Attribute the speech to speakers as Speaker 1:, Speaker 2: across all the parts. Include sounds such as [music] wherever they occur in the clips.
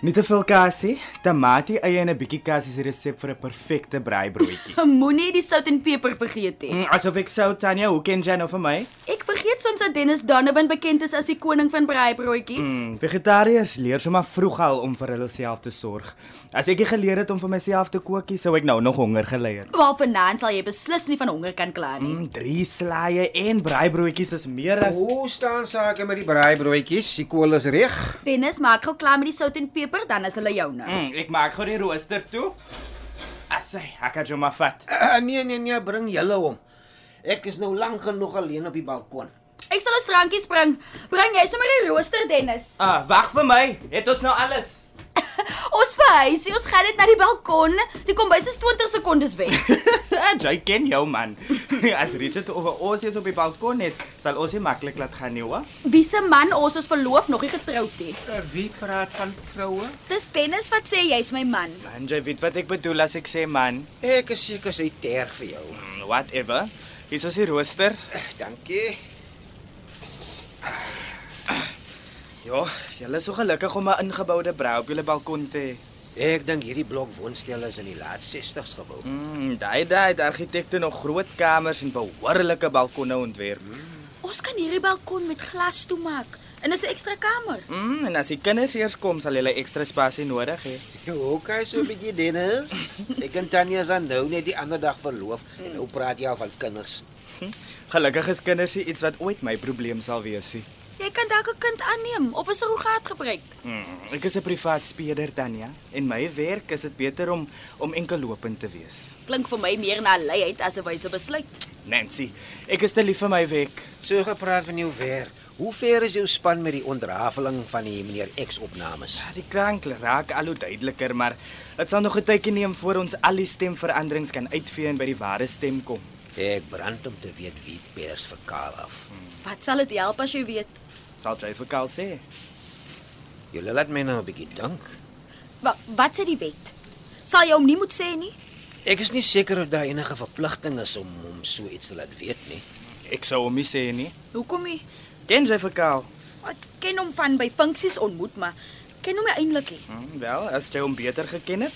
Speaker 1: Nie te veel kassie, tamatie, eie en 'n bietjie kassie se resep vir 'n perfekte braaibroodjie.
Speaker 2: Moenie die sout en peper vergeet nie.
Speaker 1: [laughs] Mm, Asof ek sou Tanya, hoe ken jy nou vir my?
Speaker 2: Ek vergeet soms dat Dennis Donovan bekend is as die koning van braaibroodjies.
Speaker 1: Mm, vegetariërs leer sommer vroeg al om vir hulle self te sorg. As ek nie geleer het om vir myself te kook nie, sou ek nou nog honger gelei het.
Speaker 2: Waar vanaand sal jy beslis nie van honger kan kla nie.
Speaker 1: Mm, drie slaaie en braaibroodjies is meer as
Speaker 3: Hoe staan sake met die braaibroodjies? Die kool is reg.
Speaker 2: Dennis maak gou klaar met die sout en peper, dan is hulle joune.
Speaker 1: mm, Ek maak gou die rooster toe. Asai, ek het jou maar vat.
Speaker 3: Uh, nee nee nee, bring julle hom. Ek is nou lank genoeg alleen op die balkon.
Speaker 1: Mm.
Speaker 2: Ek sal ons drankies bring. Bring jy sommer die rooster Dennis.
Speaker 1: Ah, wag vir my. Het ons nou alles? [laughs]
Speaker 2: Ons verhuis, ons gaan dit na die balkon. Die kombuis is 20 sekondes
Speaker 1: [laughs]
Speaker 2: weg.
Speaker 1: jy ken jou man. [laughs] As Richard oor ons is op die balkon net, sal ons nie maklik laat gaan nie, hoor?
Speaker 2: Wie se man ons ons verloof nog nie getroud het.
Speaker 3: Uh, wie praat van troue?
Speaker 2: Dis Dennis wat sê jy's my man.
Speaker 1: Man, jy weet wat ek bedoel as ek sê man,
Speaker 3: Ek is seker sy terg vir jou.
Speaker 1: Mm, whatever. Hier is die rooster.
Speaker 3: Uh, dankie.
Speaker 1: Ja, julle is so gelukkig om 'n ingeboude brou op julle balkon te hê.
Speaker 3: Ek dink hierdie blok woonstelle is in die laat 60's gebou.
Speaker 1: Mm, daai daai het argitekte nog groot kamers en behoorlike balkonne ontwerp.
Speaker 2: Ons kan hierdie balkon met glas toemaak en dis 'n ekstra kamer.
Speaker 1: Mm, en as die kinders eers kom, sal hulle ekstra spasie nodig hê.
Speaker 3: Okay, so 'n bietjie Dennis. Ek en Tanya is aan nou net die ander dag verloof en nou praat jy al van kinders.
Speaker 1: Gelukkig is kinders nie iets wat ooit my probleem sal wees nie.
Speaker 2: Jy kan dalk 'n kind aanneem of 'n surrogaat gebruik.
Speaker 1: Mm, ek is 'n privaat speeder Tanya en my werk is dit beter om om enkel lopend te wees.
Speaker 2: Klink vir my meer na 'n leiheid as 'n wyse besluit.
Speaker 1: Nancy, ek is te lief vir my werk.
Speaker 3: So gepraat van jou werk. Hoe ver is jou span met die ontrafeling van die meneer X opnames?
Speaker 1: Ja, Die klank raak al hoe duideliker, maar dit sal nog 'n tydjie neem voor ons al die stemveranderings kan uitvee en by die ware stem kom.
Speaker 3: Ek brand om te weet wie pers vir Karl af.
Speaker 2: Wat sal dit help as jy weet?
Speaker 1: Sal jy vir Karl sê?
Speaker 3: Julle laat my nou 'n bietjie dink.
Speaker 2: Wat wat sê die wet? Sal jy hom nie moet sê nie?
Speaker 3: Ek is nie seker of daar enige verpligting is om om so iets te laat weet nie.
Speaker 1: Ek sou hom nie sê nie.
Speaker 2: Hoekom nie?
Speaker 1: Ken jy vir Karl?
Speaker 2: Ek ken hom van by funksies ontmoet, maar ken hom nie eintlik nie.
Speaker 1: Hm, wel, as jy hom beter geken het,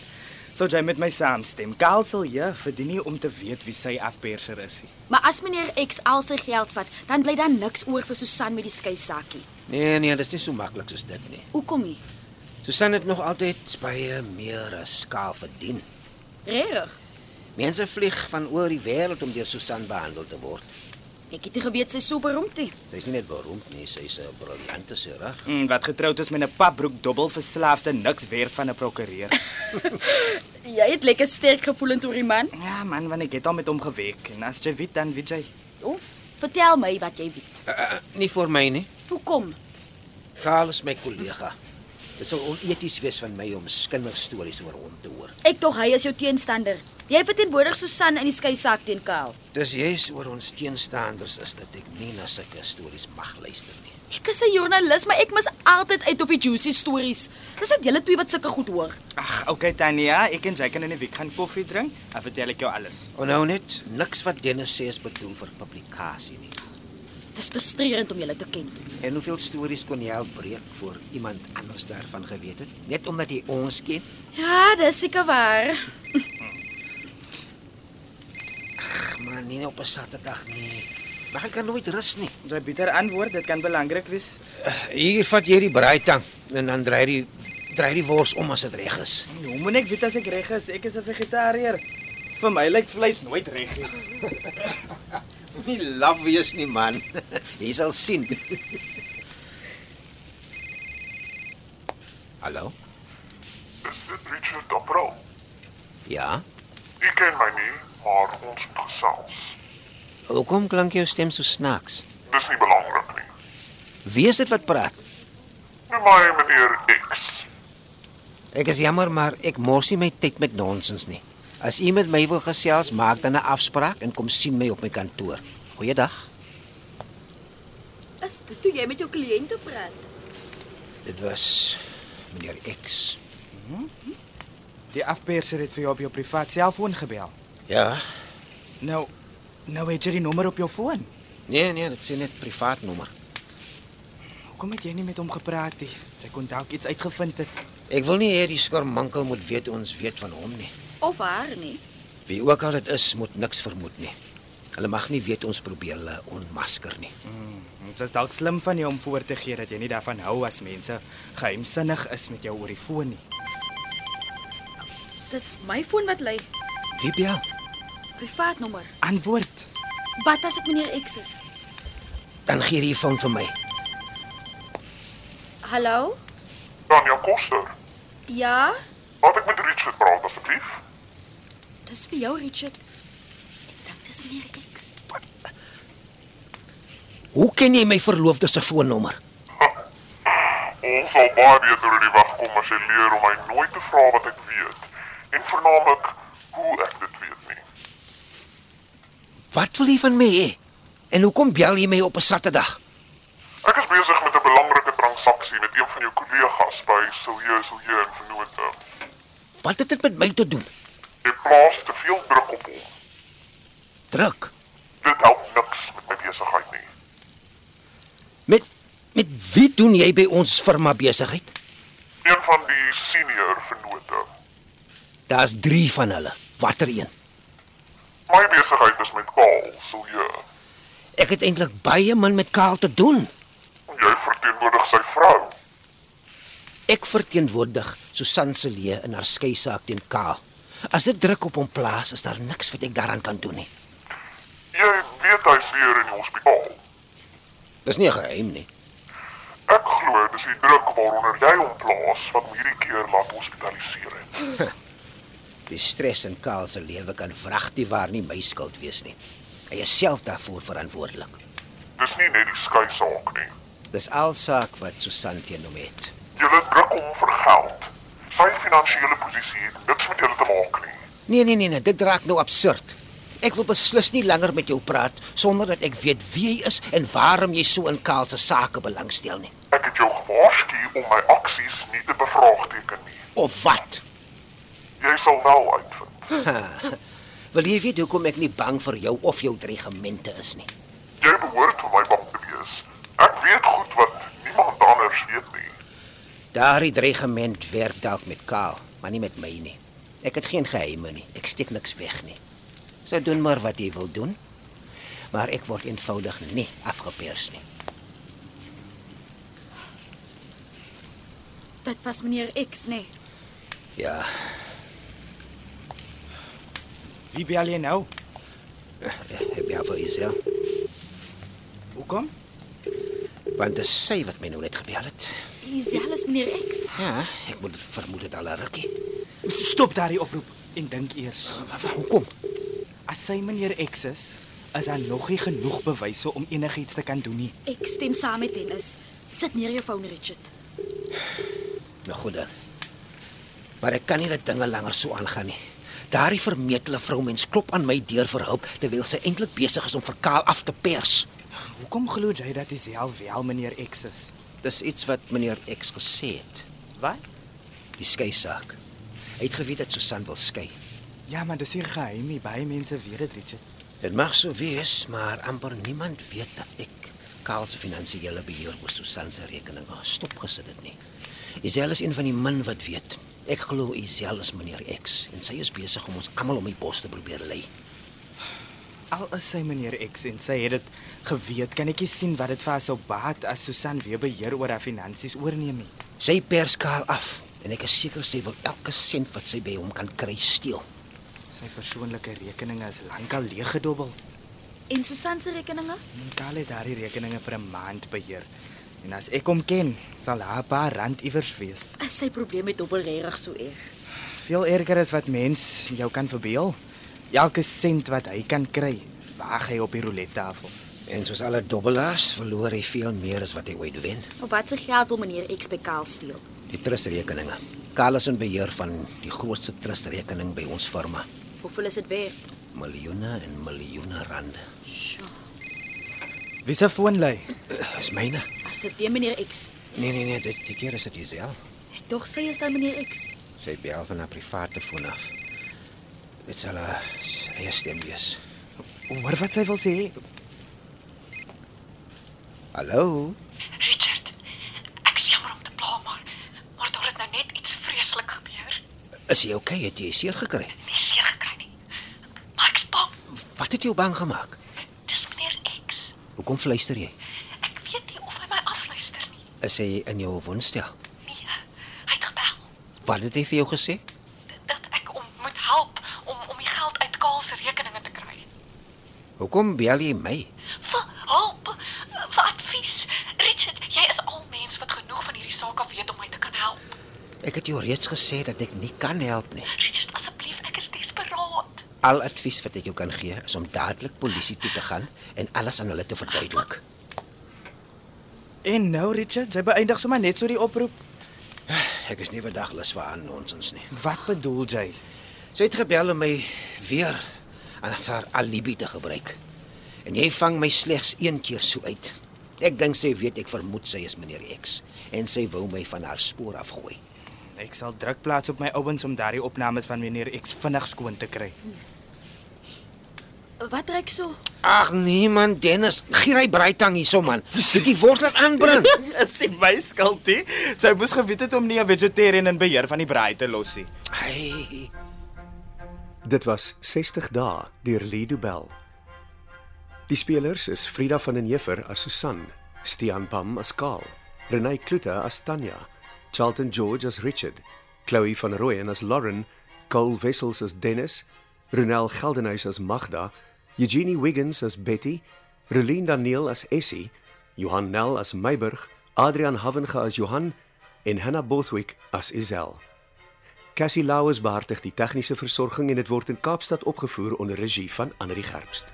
Speaker 1: sou jy met my saamstem. Karl sal jy verdien nie om te weet wie sy afperser is nie.
Speaker 2: Maar as meneer X al sy geld vat, dan bly daar niks oor vir Susan met die skei sakkie.
Speaker 3: Nee nee, dit is nie so maklik soos dit nie.
Speaker 2: Hoekom nie?
Speaker 3: Susan het nog altyd baie meer as Karl verdien.
Speaker 2: Regtig?
Speaker 3: Mense vlieg van oor die wêreld om deur Susan behandel te word.
Speaker 2: Ek het nie geweet sy is so beroemd nie.
Speaker 3: Sy's nie net beroemd nie, sy's 'n briljante chirurg.
Speaker 1: Mm, wat getroud is met 'n papbroek dobbel verslaafde niks werk van 'n prokureur.
Speaker 2: Jy het lekker sterk gevoelens oor die man.
Speaker 1: ja man, want ek het al met hom gewerk en as jy weet dan weet jy.
Speaker 2: O, vertel my wat jy weet.
Speaker 3: Uh, nie vir my nie.
Speaker 2: Hoekom?
Speaker 3: Karl is my kollega. Dit sou oneties wees van my om kinderstories oor hom te hoor.
Speaker 2: Ek tog hy is jou teenstander. Jy verteenwoordig Susan in die skei sak teen Kaal.
Speaker 3: Dis juis oor ons teenstanders is dat ek nie na sulke stories mag luister nie.
Speaker 2: Ek is 'n joernalis, maar ek mis altyd uit op die juicy stories. Dis net julle twee wat sulke goed hoor.
Speaker 1: Ag, okay Tanya, ek en jy kan in die week gaan koffie drink. Dan vertel ek jou alles.
Speaker 3: Onthou net, niks wat Dennis sê is bedoel vir publikasie nie.
Speaker 2: Dis frustrerend om julle te ken.
Speaker 3: En hoeveel stories kon jy al breek voor iemand anders daarvan geweet het, net omdat jy ons ken?
Speaker 2: Ja, dis seker waar.
Speaker 3: Ag man, nie op 'n Saterdag nie. Maar ek kan nooit rus nie.
Speaker 1: Jy bieter antwoord, dit kan belangrik wees.
Speaker 3: Hier vat jy die braaitang en dan draai die draai die wors om as dit reg is.
Speaker 1: Nee, Hoe moet ek weet as ek reg is? Ek is 'n vegetariër. Vir my lyk vleis nooit reg nie.
Speaker 3: [laughs] Nie laf wees nie, man. [laughs] Jy sal sien. Hallo?
Speaker 4: Richard April.
Speaker 3: Ja.
Speaker 4: U ken my nie, maar ons moet gesels.
Speaker 3: Hoekom klink jou stem so snaaks?
Speaker 4: Dis nie belangrik nie.
Speaker 3: Wie is dit wat praat?
Speaker 4: Noem my meneer X.
Speaker 3: Ek is jammer, maar ek mors nie my tyd met nonsens nie. As u met my wil gesels, maak dan 'n afspraak en kom sien my op my kantoor. Goeiedag.
Speaker 5: Is dit toe jy met jou kliënte praat?
Speaker 3: Dit was meneer X.
Speaker 1: Die afperser het vir jou op jou privaat selfoon gebel.
Speaker 3: Ja.
Speaker 1: Nou nou het jy die nommer op jou foon.
Speaker 3: Nee, nee, dit sê net privaat nommer.
Speaker 1: Hoekom het jy nie met hom gepraat nie? Jy kon dalk iets uitgevind het.
Speaker 3: Ek wil nie hê die skarmankel moet weet ons weet van hom nie.
Speaker 5: Of haar
Speaker 2: nee.
Speaker 5: nie?
Speaker 3: Wie ook al dit is, moet niks vermoed nie. Hulle mag nie weet ons probeer hulle onmasker nie.
Speaker 1: Dit was dalk slim van jou om voor te gee dat jy nie daarvan hou as mense geheimsinnig is met jou oor die foon nie.
Speaker 5: Dis my foon wat lui.
Speaker 3: Wie bel?
Speaker 5: Privaat nommer.
Speaker 1: Antwoord.
Speaker 5: Wat as dit meneer X is?
Speaker 3: Dan gee jy die foon vir my.
Speaker 5: Hallo?
Speaker 4: Daniel Koster,
Speaker 5: Ja,
Speaker 4: laat ek met Richard praat asseblief. [laughs]
Speaker 5: dis vir jou Richard. Ek dink dis meneer X.
Speaker 3: Hoe ken jy my verloofde se foonnommer?
Speaker 4: Ons sal baie beter oor die weg kom as jy leer om my nooit te vra wat ek weet en vernaamlik hoe ek dit weet nie.
Speaker 3: Wat wil jy van my hê? En hoekom bel jy my op 'n Saterdag?
Speaker 4: Ek is besig met 'n belangrike transaksie met een van jou kollegas by Silje Silje en Vennote.
Speaker 3: Wat het dit met my te doen?
Speaker 4: Jy plaas te veel druk op hom.
Speaker 3: Druk.
Speaker 4: Dit help niks met my besigheid nie.
Speaker 3: Met met wie doen jy by ons firma besigheid?
Speaker 4: Een van die senior vennote.
Speaker 3: Daar's 3 van hulle. Watter een?
Speaker 4: My besigheid is met Kaal ja. Silje.
Speaker 3: Ek het eintlik baie min met Karl te doen.
Speaker 4: Jy verteenwoordig sy vrou.
Speaker 3: Ek verteenwoordig Susan se leë in haar skei saak teen Karl. As dit druk op hom plaas, is daar niks wat ek daaraan kan doen nie.
Speaker 4: Jy weet hy's weer in die hospitaal.
Speaker 3: Dis nie 'n geheim nie.
Speaker 4: Ek glo dis die druk waaronder jy hom plaas wat hom hierdie keer laat hospitaliseer het.
Speaker 3: Die stres in Karl se lewe kan vragtig waar nie my skuld wees nie. Hy is self daarvoor verantwoordelik.
Speaker 4: Dis nie net die skei saak nie.
Speaker 3: Dis al saak wat Susan teen hom het.
Speaker 4: Julle druk hom vir geld. Sy finansiële posisie het niks met julle te maak nie.
Speaker 3: Nee nee nee nee, dit raak nou absurd. Ek wil beslis nie langer met jou praat sonder dat ek weet wie jy is en waarom jy so in Karl se sake belangstel nie.
Speaker 4: Ek het jou gewaarsku om my aksies nie te bevraagteken nie.
Speaker 3: Of wat?
Speaker 4: Jy sal wel uitvind.
Speaker 3: Wil jy weet hoekom ek nie bang vir jou of jou dreigemente is nie?
Speaker 4: Jy behoort vir my bang te wees. Ek weet goed wat niemand anders weet nie.
Speaker 3: Daardie dreigement werk dalk met Karl, maar nie met my nie. Ek het geen geheime nie. Ek steek niks weg nie. So doen maar wat jy wil doen. Maar ek word eenvoudig nie afgepers nie.
Speaker 5: Dit was meneer X, nê? Nee.
Speaker 3: Ja,
Speaker 1: Wie bel jy nou?
Speaker 3: ek bel vir Isel,
Speaker 1: Hoekom?
Speaker 3: want dit is sy wat my nou net gebel het.
Speaker 5: Isel is meneer X.
Speaker 3: Ja, ek moet vermoed dit al 'n rukkie.
Speaker 1: Stop daardie oproep en dink eers.
Speaker 3: Hoekom?
Speaker 1: As sy meneer X is, is daar nog nie genoeg bewyse om enigiets te kan doen nie.
Speaker 5: Ek stem saam met Dennis. Sit neer jou foon, Richard.
Speaker 3: Nou goed dan. Maar ek kan nie dat dinge langer so aangaan nie. Daardie vermetele vroumens klop aan my deur vir hulp terwyl sy eintlik besig is om vir Kaal af te pers.
Speaker 1: Hoekom glo jy dat dit self wel meneer X is?
Speaker 3: Dis iets wat meneer X gesê het,
Speaker 1: Wat?
Speaker 3: die skei saak. Hy het geweet dat Susan wil skei.
Speaker 1: Ja, maar dis hier geheim, nie baie mense weet dit, Richard.
Speaker 3: Dit mag so wees, maar amper niemand weet dat ek Kaal se finansiële beheer oor Susan se rekening gestop gesit het nie. Isel is een van die min wat weet. Ek glo Isel is meneer X en sy is besig om ons almal om die bos te probeer lei.
Speaker 1: Al is sy meneer X en sy het dit geweet, kan ek nie sien wat dit vir haar sou baat as Susan weer beheer oor haar finansies oorneem nie.
Speaker 3: Sy pers Karl af en ek is seker sy wil elke sent wat sy by hom kan kry steel.
Speaker 1: Sy persoonlike rekeninge is lankal leeggedobbel.
Speaker 5: En Susan se rekeninge?
Speaker 1: Mikael het daardie rekeninge vir 'n maand beheer. En as ek hom ken, sal haar paar rand iewers wees.
Speaker 5: Is Ah, sy probleem met dobbelregtig so erg?
Speaker 1: Veel erger is wat mens jou kan verbeel. Elke sent wat hy kan kry, waag hy op die roulette tafel.
Speaker 3: En soos alle dobbelaars verloor hy veel meer as wat hy ooit wen.
Speaker 5: Op watter geld wil meneer X by Kaal steel?
Speaker 3: Die trustrekeninge. Karl is in beheer van die grootste trustrekening by ons firma.
Speaker 5: Hoeveel is dit werd?
Speaker 3: Miljoene en miljoene rande.
Speaker 5: Sjoe.
Speaker 1: Wie se foon lui?
Speaker 3: Dis Eh, myne.
Speaker 5: As dit weer meneer X.
Speaker 3: Nee nee nee, dit die keer is dit Giselle.
Speaker 5: Ek dog sy is dan meneer X.
Speaker 3: Sy bel van haar private foon af. Dit sal haar eie stem wees.
Speaker 1: Hoor wat sy wil sê.
Speaker 3: Hallo.
Speaker 6: Richard, ek is jammer om te pla, maar maar daar het nou net iets vreeslik gebeur.
Speaker 3: Is jy okay? Het jy seer gekry?
Speaker 6: Nie seer gekry nie. Maar ek's bang.
Speaker 3: Wat het jou bang gemaak?
Speaker 6: Dis meneer X.
Speaker 3: Hoekom fluister jy?
Speaker 6: Ek weet nie of hy my afluister nie.
Speaker 3: Is hy in jou woonstel?
Speaker 6: Nee, hy het gebel
Speaker 3: Wat het hy vir jou gesê?
Speaker 6: dat ek om moet help om om die geld uit Kaal se rekeninge te kry.
Speaker 3: Hoekom bel jy my?
Speaker 6: Vir hulp, vir advies. Richard, jy is al mens wat genoeg van hierdie saak af weet om my te kan help.
Speaker 3: Ek het jou reeds gesê dat ek nie kan help nie.
Speaker 6: Richard, asseblief, ek is desperaat.
Speaker 3: Al advies wat ek jou kan gee is om dadelik polisie toe te gaan en alles aan hulle te verduidelik.
Speaker 1: En nou Richard, jy beëindig sommer net so die oproep.
Speaker 3: Ek is nie vandag lus vir aan nonsens nie.
Speaker 1: Wat bedoel jy?
Speaker 3: Sy het gebel om my weer aan haar alibi te gebruik. En jy vang my slegs een keer so uit. Ek dink sy weet ek vermoed sy is meneer X en sy wou my van haar spoor afgooi.
Speaker 1: Ek sal druk plaas op my ouens om daardie opnames van meneer X vinnig skoon te kry. [laughs]
Speaker 5: Wat trek so?
Speaker 3: Ag nee man, Dennis, gee hy braaitang hierso man. Dit die wortel aanbring.
Speaker 1: Is dit my skuld hè? Sy moes geweet het om nie 'n vegetarian in beheer van die braai te los nie.
Speaker 3: Ai.
Speaker 7: Dit was 60 dae deur Lido Bell. Die spelers is Frida van den Heever as Susan, Stean Pam as Karl, Renay Klute as Tanya, Charlton George as Richard, Chloe van Rooyen as Lauren, Cole Wessels as Dennis, Ronel Geldenhuys as Magda, Eugenie Wiggins as Betty, Relien Daniel as Essie, Johan Nel as Meiburg, Adrian Havenga as Johan en Hannah Bothwick as Isel. Cassie Lauers behartig die tegniese versorging en dit word in Kaapstad opgevoer onder regie van Anri Gerbst.